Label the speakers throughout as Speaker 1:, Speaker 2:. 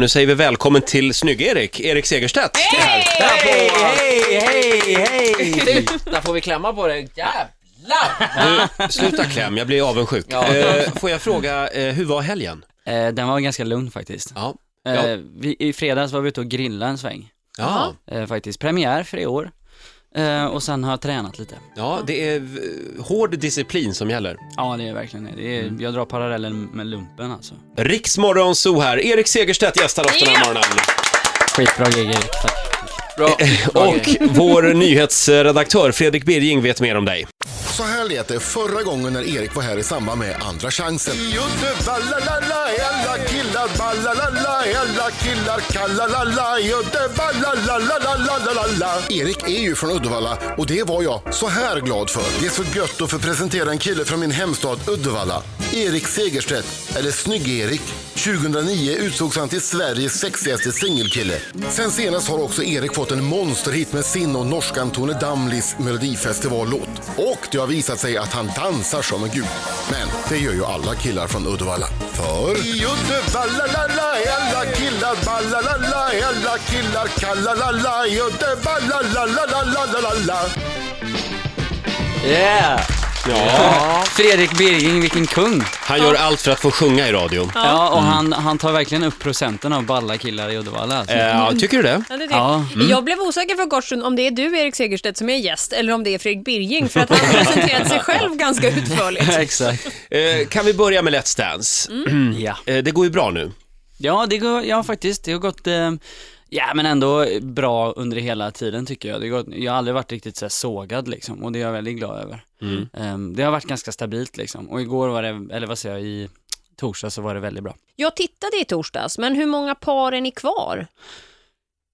Speaker 1: Nu säger vi välkommen till Snygg-Erik, Erik Segerstedt.
Speaker 2: Där får-
Speaker 3: Hej, hej, hej!
Speaker 2: Där får vi klämma på det. Jävlar!
Speaker 1: Du, sluta kläm, jag blir avundsjuk.
Speaker 2: Ja.
Speaker 1: Eh, får jag fråga, eh, hur var helgen?
Speaker 3: Eh, den var ganska lugn faktiskt.
Speaker 1: Ja.
Speaker 3: Eh, vi, I fredags var vi ute och grillade en sväng,
Speaker 1: Ja,
Speaker 3: eh, faktiskt. Premiär för i år. Eh, och sen har jag tränat lite.
Speaker 1: ja, det är eh, hård disciplin som gäller.
Speaker 3: Ja, det är verkligen det. det är, Jag drar parallellen med lumpen alltså.
Speaker 1: Riksmorgon Zoo här, Erik Segerstedt gästar oss den här morgonen.
Speaker 3: Skitbra gig Erik, tack.
Speaker 2: Bra. Bra grej.
Speaker 1: Och vår nyhetsredaktör Fredrik Birging vet mer om dig.
Speaker 4: Så här lät det förra gången när Erik var här i samband med Andra chansen. I Uddevalla, la, la, alla killar, balla, la, la, alla killar, kalla, la, la, i Uddevalla, la, la, la, la, la, la, la. Erik är ju från Uddevalla och det var jag så här glad för. Det är så gött att få presentera en kille från min hemstad Uddevalla. Erik Segerstedt, eller Snygg-Erik. 2009 utsågs han till Sveriges sexigaste singelkille. Sen senast har också Erik fått en monsterhit med sin och norskan Tone Damlis melodifestivallåt. Och det har visat sig att han dansar som en gud. Men det gör ju alla killar från Uddevalla. För... I Uddevalla, la, la, alla killar, balla, la, la, alla killar, kalla, la, la, i Uddevalla, la, la, la, la, la, la, la.
Speaker 3: Yeah! Ja. Fredrik Birging, vilken kung!
Speaker 1: Han gör allt för att få sjunga i radio.
Speaker 3: Ja, Mm. och han, han tar verkligen upp procenten av balla killar i Uddevalla alltså.
Speaker 1: Eh, tycker du det?
Speaker 5: Ja, det är det.
Speaker 3: Ja. mm.
Speaker 5: Jag blev osäker för en kort stund om det är du, Erik Segerstedt, som är gäst eller om det är Fredrik Birging, för att han har presenterat sig själv ganska utförligt.
Speaker 3: Exakt.
Speaker 1: Eh, kan vi börja med Let's Dance?
Speaker 3: Mm. Ja.
Speaker 1: Eh, det går ju bra nu.
Speaker 3: Ja, det går, ja faktiskt, det har gått, eh, ja men ändå bra under hela tiden tycker jag. Det har gått, jag har aldrig varit riktigt så här sågad liksom och det är jag väldigt glad över. Eh, det har varit ganska stabilt liksom och igår var det, eller vad säger jag, i torsdag så var det väldigt bra.
Speaker 5: Jag tittade i torsdags, men hur många par är ni kvar?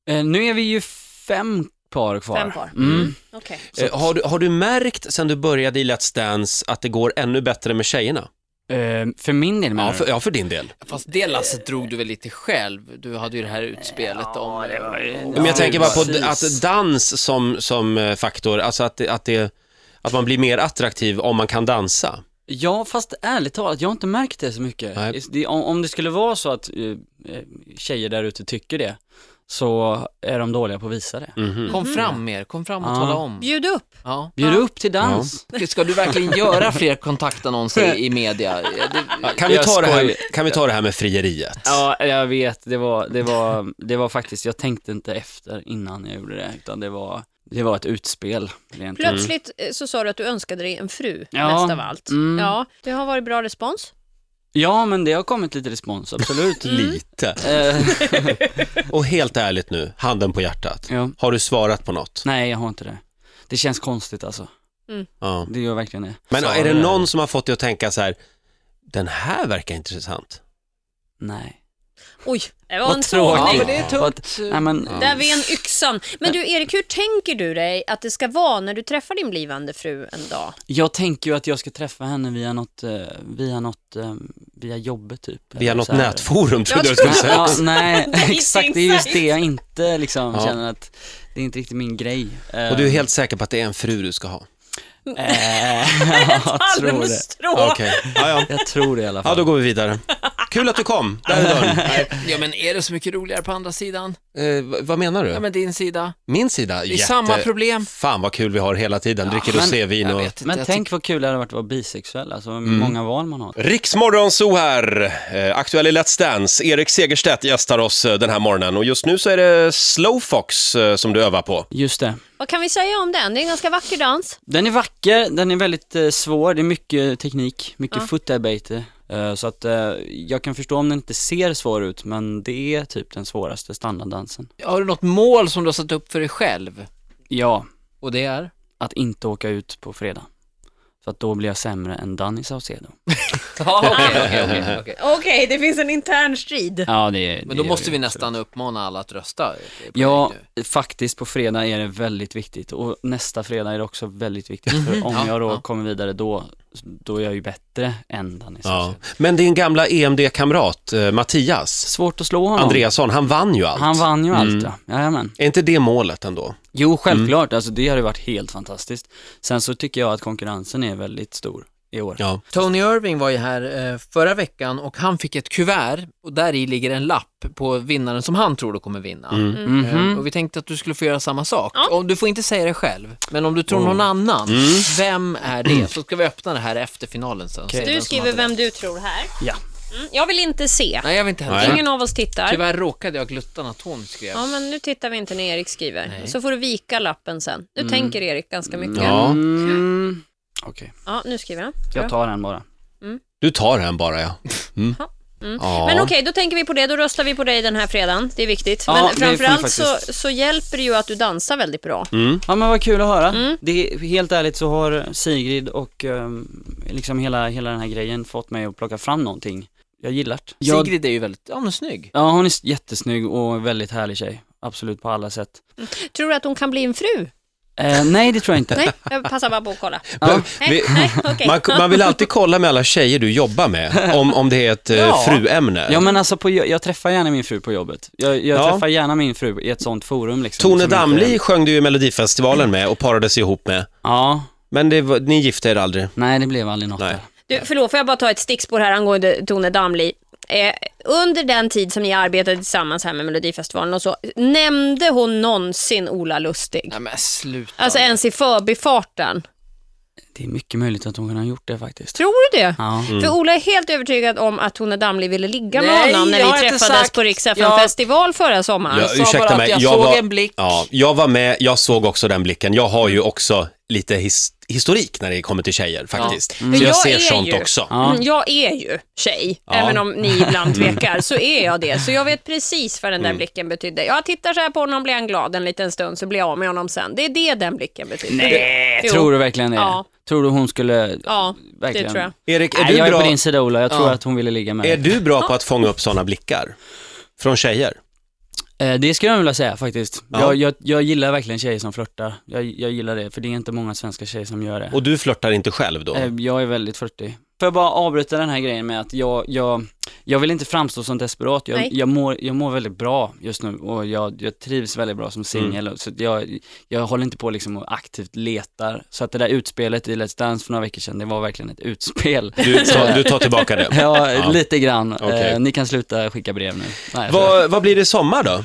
Speaker 3: Eh, nu är vi ju fem par kvar.
Speaker 5: Fem par.
Speaker 3: Mm.
Speaker 5: Okej.
Speaker 1: Eh, har, du, har du märkt sen du började i Let's Dance att det går ännu bättre med tjejerna?
Speaker 3: Eh, för min del menar
Speaker 1: Ja,
Speaker 3: du?
Speaker 1: för, ja, för din del.
Speaker 2: Fast det Lasse drog du väl lite själv? Du hade ju det här utspelet om...
Speaker 1: Men jag tänker bara på d- att
Speaker 3: precis.
Speaker 1: dans som, som eh, faktor, alltså att, det- att, det, att man blir mer attraktiv om man kan dansa.
Speaker 3: Ja, fast ärligt talat, jag har inte märkt det så
Speaker 1: Nej.
Speaker 3: mycket. Det, om, om det skulle vara så att eh, eh, tjejer där ute tycker det, så är de dåliga på att visa det.
Speaker 2: eh, Kom fram mer, kom fram och
Speaker 3: Ja.
Speaker 2: tala om.
Speaker 5: Bjud upp.
Speaker 3: Mm.
Speaker 2: Ja.
Speaker 3: Bjud upp till dans.
Speaker 2: Ska du verkligen göra fler kontaktannonser i media? Ja, det-
Speaker 1: Kan vi,
Speaker 3: Jag
Speaker 1: ta det här,
Speaker 3: skojar.
Speaker 1: med- kan vi ta det här med frieriet?
Speaker 3: Ja, jag vet. Det var, det var, det var faktiskt, jag tänkte inte efter innan jag gjorde det, utan det var, det var ett utspel rent ut.
Speaker 5: Plötsligt eh, så sa du att du önskade dig en fru
Speaker 3: Ja.
Speaker 5: mest av allt.
Speaker 3: Mm.
Speaker 5: Ja, det har varit bra respons.
Speaker 3: Ja, men det har kommit lite respons, absolut.
Speaker 1: Lite.
Speaker 3: Eh,
Speaker 1: Och helt ärligt nu, handen på hjärtat.
Speaker 3: ja.
Speaker 1: Har du svarat på något?
Speaker 3: Nej, jag har inte det. Det känns konstigt alltså.
Speaker 1: Ja.
Speaker 3: Det gör verkligen det.
Speaker 1: Men
Speaker 3: Så- eh,
Speaker 1: är det någon som har fått dig att tänka så här, den här verkar intressant?
Speaker 3: Nej.
Speaker 5: Oj, det var en
Speaker 3: Vad tråkigt.
Speaker 5: sågning.
Speaker 2: men det är
Speaker 3: Vad-
Speaker 2: tungt.
Speaker 3: Nej, men,
Speaker 5: Där ven yxan. Men du Erik, hur tänker du dig att det ska vara när du träffar din blivande fru en dag?
Speaker 3: Jag tänker ju att jag ska träffa henne via något, eh, via något, eh, via jobbet typ.
Speaker 1: Via
Speaker 3: Eller
Speaker 1: något
Speaker 3: så här.
Speaker 1: nätforum trodde jag du
Speaker 5: Jag
Speaker 1: skulle
Speaker 5: tror-
Speaker 1: säga.
Speaker 3: Ja, nej,
Speaker 5: Dating
Speaker 3: exakt. Det är just
Speaker 5: site.
Speaker 3: det jag inte liksom
Speaker 1: Ja.
Speaker 3: känner att det är inte riktigt min grej.
Speaker 1: Och du är helt säker på att det är en fru du ska ha?
Speaker 3: Eh, jag
Speaker 5: Palme
Speaker 3: tror
Speaker 5: med
Speaker 3: det.
Speaker 5: strå.
Speaker 1: Okej, ja, ja.
Speaker 3: Jag tror det i alla
Speaker 1: ja
Speaker 3: fall.
Speaker 1: då går vi vidare. Kul att du kom, där är dörren.
Speaker 2: Ja, men är det så mycket roligare på andra sidan?
Speaker 1: Eh, v- vad menar du?
Speaker 2: Ja, men din sida.
Speaker 1: Min sida?
Speaker 2: Det är samma problem.
Speaker 1: Fan vad kul vi har hela tiden, dricker rosévin
Speaker 2: Jag
Speaker 1: och...
Speaker 2: vet inte.
Speaker 3: Men
Speaker 2: jag
Speaker 3: tänk vad kul det hade varit att vara bisexuell, alltså hur
Speaker 2: Mm.
Speaker 3: många val man har.
Speaker 1: Riksmorgon så här, eh, aktuell i Let's Dance. Erik Segerstedt gästar oss eh, den här morgonen och just nu så är det Slowfox eh, som du övar på.
Speaker 3: Just det.
Speaker 5: Vad kan vi säga om den? Det är en ganska vacker dans.
Speaker 3: Den är vacker, den är väldigt eh, svår, det är mycket teknik, mycket fotarbete. Eh, så att eh, jag kan förstå om den inte ser svår ut, men det är typ den svåraste standarddansen.
Speaker 2: tycker- Har du något mål som du har satt upp för dig själv?
Speaker 3: Ja,
Speaker 2: Och det är?
Speaker 3: att inte åka ut på fredag. För att då blir jag sämre än Danny Saucedo.
Speaker 2: Ja, okej, okej, okej, okej.
Speaker 5: Okej, det finns en intern strid.
Speaker 3: Ja, det är
Speaker 2: Men
Speaker 3: det
Speaker 2: då
Speaker 3: gör
Speaker 2: måste
Speaker 3: jag
Speaker 2: vi
Speaker 3: absolut.
Speaker 2: nästan uppmana alla att rösta. på
Speaker 3: Ja,
Speaker 2: dig nu.
Speaker 3: faktiskt på fredag är det väldigt viktigt och nästa fredag är det också väldigt viktigt för om
Speaker 2: Mhm. Ja,
Speaker 3: jag då
Speaker 2: ja.
Speaker 3: kommer vidare då, då är jag ju bättre än Danny
Speaker 1: Ja.
Speaker 3: ja.
Speaker 1: Men din gamla EMD-kamrat eh, Mattias
Speaker 3: Svårt att slå honom.
Speaker 1: Andreasson, han vann ju allt.
Speaker 3: Han vann ju
Speaker 1: Mm.
Speaker 3: allt ja, Jajamän.
Speaker 1: Är inte det målet ändå?
Speaker 3: Jo, självklart, alltså det hade varit helt fantastiskt. Sen så tycker jag att konkurrensen är väldigt stor i år.
Speaker 1: Ja.
Speaker 2: Tony Irving var ju här eh, förra veckan och han fick ett kuvert och där i ligger en lapp på vinnaren som han tror då kommer vinna. Eh, Och vi tänkte att du skulle få göra samma sak.
Speaker 5: Ja.
Speaker 2: Och du får inte säga det själv, men om du tror någon annan, vem är det? Så ska vi öppna det här efter finalen sen.
Speaker 3: Okej.
Speaker 2: Säg
Speaker 5: Du
Speaker 2: vem som
Speaker 5: skriver
Speaker 2: hade
Speaker 5: vem du tror här.
Speaker 3: Ja.
Speaker 5: Mm, jag vill inte se.
Speaker 2: det. Nej, jag vill inte heller.
Speaker 1: Nej.
Speaker 2: Ingen-
Speaker 5: Ingen av oss tittar.
Speaker 2: Tyvärr råkade jag glutta när Tony skrev.
Speaker 5: Ja, men nu tittar vi inte när Erik skriver.
Speaker 2: Nej.
Speaker 5: Så får du vika lappen sen. Nu tänker Erik ganska mycket. Ja,
Speaker 1: Ja.
Speaker 3: Mm. Okej,
Speaker 5: nu skriver han. tror
Speaker 3: jag tar den bara.
Speaker 1: Du tar den bara ja. Mm.
Speaker 5: Ja.
Speaker 1: Ja.
Speaker 5: Men okej, då tänker vi på det. Då röstar vi på dig den här fredagen. Det är viktigt.
Speaker 3: Ja,
Speaker 5: Men
Speaker 3: det får vi
Speaker 5: framförallt så,
Speaker 3: faktiskt.
Speaker 5: så hjälper det ju att du dansar väldigt bra.
Speaker 3: Ja men vad kul att höra.
Speaker 2: Mm.
Speaker 3: Det är, helt ärligt så har Sigrid och ehm, liksom hela, hela den här grejen fått mig att plocka fram någonting jag gillat. Jag,
Speaker 2: Sigrid är ju väldigt, ja hon är snygg.
Speaker 3: ja hon är s- jättesnygg och väldigt härlig tjej. Absolut på alla sätt.
Speaker 5: Tror du att hon kan bli en fru?
Speaker 3: Eh, nej det tror jag inte.
Speaker 5: Nej, jag passar bara på att kolla.
Speaker 1: Men
Speaker 5: Nej,
Speaker 1: vi-
Speaker 5: nej, okej.
Speaker 1: Man, man vill alltid kolla med alla tjejer du jobbar med, om, om det är ett eh,
Speaker 2: Ja.
Speaker 1: fruämne.
Speaker 3: Ja men alltså på, jo- jag träffar gärna min fru på jobbet. Jag, jag
Speaker 1: Ja.
Speaker 3: träffar gärna min fru i ett sånt forum liksom.
Speaker 1: Tone
Speaker 3: som inte-
Speaker 1: Damli sjöng du ju i Melodifestivalen med och parades ihop med.
Speaker 3: Ja,
Speaker 1: Men det var, ni gifte er aldrig.
Speaker 3: nej det blev aldrig något
Speaker 1: Nej.
Speaker 3: där.
Speaker 5: Du, förlåt, får jag bara ta ett stickspår här angående Tone Damli? Eh, under den tid som ni arbetade tillsammans här med Melodifestivalen och så, nämnde hon någonsin Ola Lustig?
Speaker 2: Nej men sluta.
Speaker 5: Alltså ens i förbifarten.
Speaker 3: Det är mycket möjligt att hon kunde ha gjort det faktiskt.
Speaker 5: Tror du det?
Speaker 3: Ja.
Speaker 5: För Ola är helt övertygad om att Tone Damli ville ligga med
Speaker 2: Mm. Nej,
Speaker 5: honom när
Speaker 2: jag
Speaker 5: vi
Speaker 2: har inte
Speaker 5: träffades
Speaker 2: sagt-
Speaker 5: på Rix
Speaker 2: Jag-
Speaker 5: festival förra sommaren.
Speaker 2: sa bara att jag såg en blick.
Speaker 1: Ja, jag var med, jag såg också den blicken. Jag har ju också lite his, historik när det kommer till tjejer faktiskt. Mm. Så
Speaker 5: För
Speaker 1: jag,
Speaker 5: Mm. jag
Speaker 1: ser
Speaker 5: är
Speaker 1: sånt
Speaker 5: ju-
Speaker 1: också.
Speaker 3: Ja.
Speaker 5: Mm, Jag är ju tjej, även om ni ibland
Speaker 1: Mm.
Speaker 5: tvekar, så är jag det. Så jag vet precis vad den där blicken betydde. Jag tittar så här på honom, blir han glad en liten stund, så blir jag av med honom sen. Det är det den blicken betyder.
Speaker 3: Nej,
Speaker 5: Jo.
Speaker 3: tror du verkligen det?
Speaker 5: Ja.
Speaker 3: Tror du hon skulle...
Speaker 5: Ja,
Speaker 3: verkligen.
Speaker 5: det tror jag.
Speaker 1: Erik, är
Speaker 3: Nej, jag
Speaker 1: du,
Speaker 3: är på
Speaker 1: bra,
Speaker 3: din sida Ola, jag tror
Speaker 2: Ja.
Speaker 3: att hon ville ligga med
Speaker 1: är
Speaker 3: mig.
Speaker 1: du bra på att fånga upp såna blickar? Från tjejer?
Speaker 3: Eh, Det skulle jag vilja säga faktiskt.
Speaker 1: Ja.
Speaker 3: Jag, jag, jag gillar verkligen tjejer som flörtar. Jag, jag gillar det, för det är inte många svenska tjejer som gör det.
Speaker 1: Och du flörtar inte själv då?
Speaker 3: Eh, Jag är väldigt flörtig. Får jag bara avbryta den här grejen med att jag, jag, jag vill inte framstå som desperat. Jag,
Speaker 5: Nej.
Speaker 3: jag, mår, jag mår väldigt bra just nu och jag, jag trivs väldigt bra som singel. Så att jag, jag håller inte på liksom och aktivt letar. Så att det där utspelet i Let's Dance för några veckor sedan, det var verkligen ett utspel.
Speaker 1: Du, tar, du tar tillbaka det.
Speaker 3: Ja,
Speaker 1: Ja.
Speaker 3: lite grann.
Speaker 1: Okej.
Speaker 3: Eh, ni kan sluta skicka brev nu. Nej, jag skojar.
Speaker 1: Vad, vad blir det i sommar då?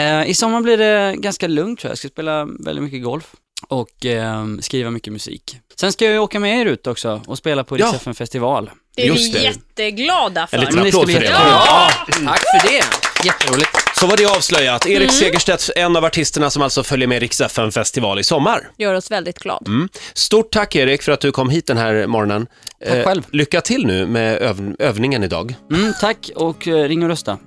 Speaker 3: eh, I sommar blir det ganska lugnt tror jag. Jag ska spela väldigt mycket golf och eh, skriva mycket musik. Sen ska jag ju åka med er ut också och spela på
Speaker 1: Ja.
Speaker 3: Rix ja. festival.
Speaker 5: Det är vi
Speaker 1: Just det.
Speaker 5: jätteglada för.
Speaker 1: En liten
Speaker 3: men det ska
Speaker 1: applåd
Speaker 3: bli
Speaker 1: för det.
Speaker 3: jättekul.
Speaker 1: Ja!
Speaker 2: Tack för det. Jätteroligt.
Speaker 1: Så var det avslöjat. Erik
Speaker 3: Mm.
Speaker 1: Segerstedt, en av artisterna som alltså följer med Rix FM festival i sommar.
Speaker 5: Gör oss väldigt glada.
Speaker 1: Stort tack Erik för att du kom hit den här morgonen. Eh,
Speaker 3: Tack själv.
Speaker 1: lycka till nu med öv- övningen idag.
Speaker 3: Mm, tack och eh, ring och rösta.